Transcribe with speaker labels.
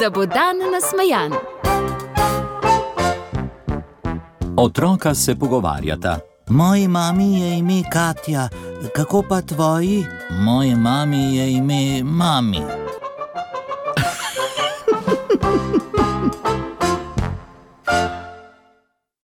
Speaker 1: da bo dan nasmejan.
Speaker 2: Otroka se pogovarjata.
Speaker 3: Moji mami je ime Katja, kako pa tvoji? Moji mami je ime Mami.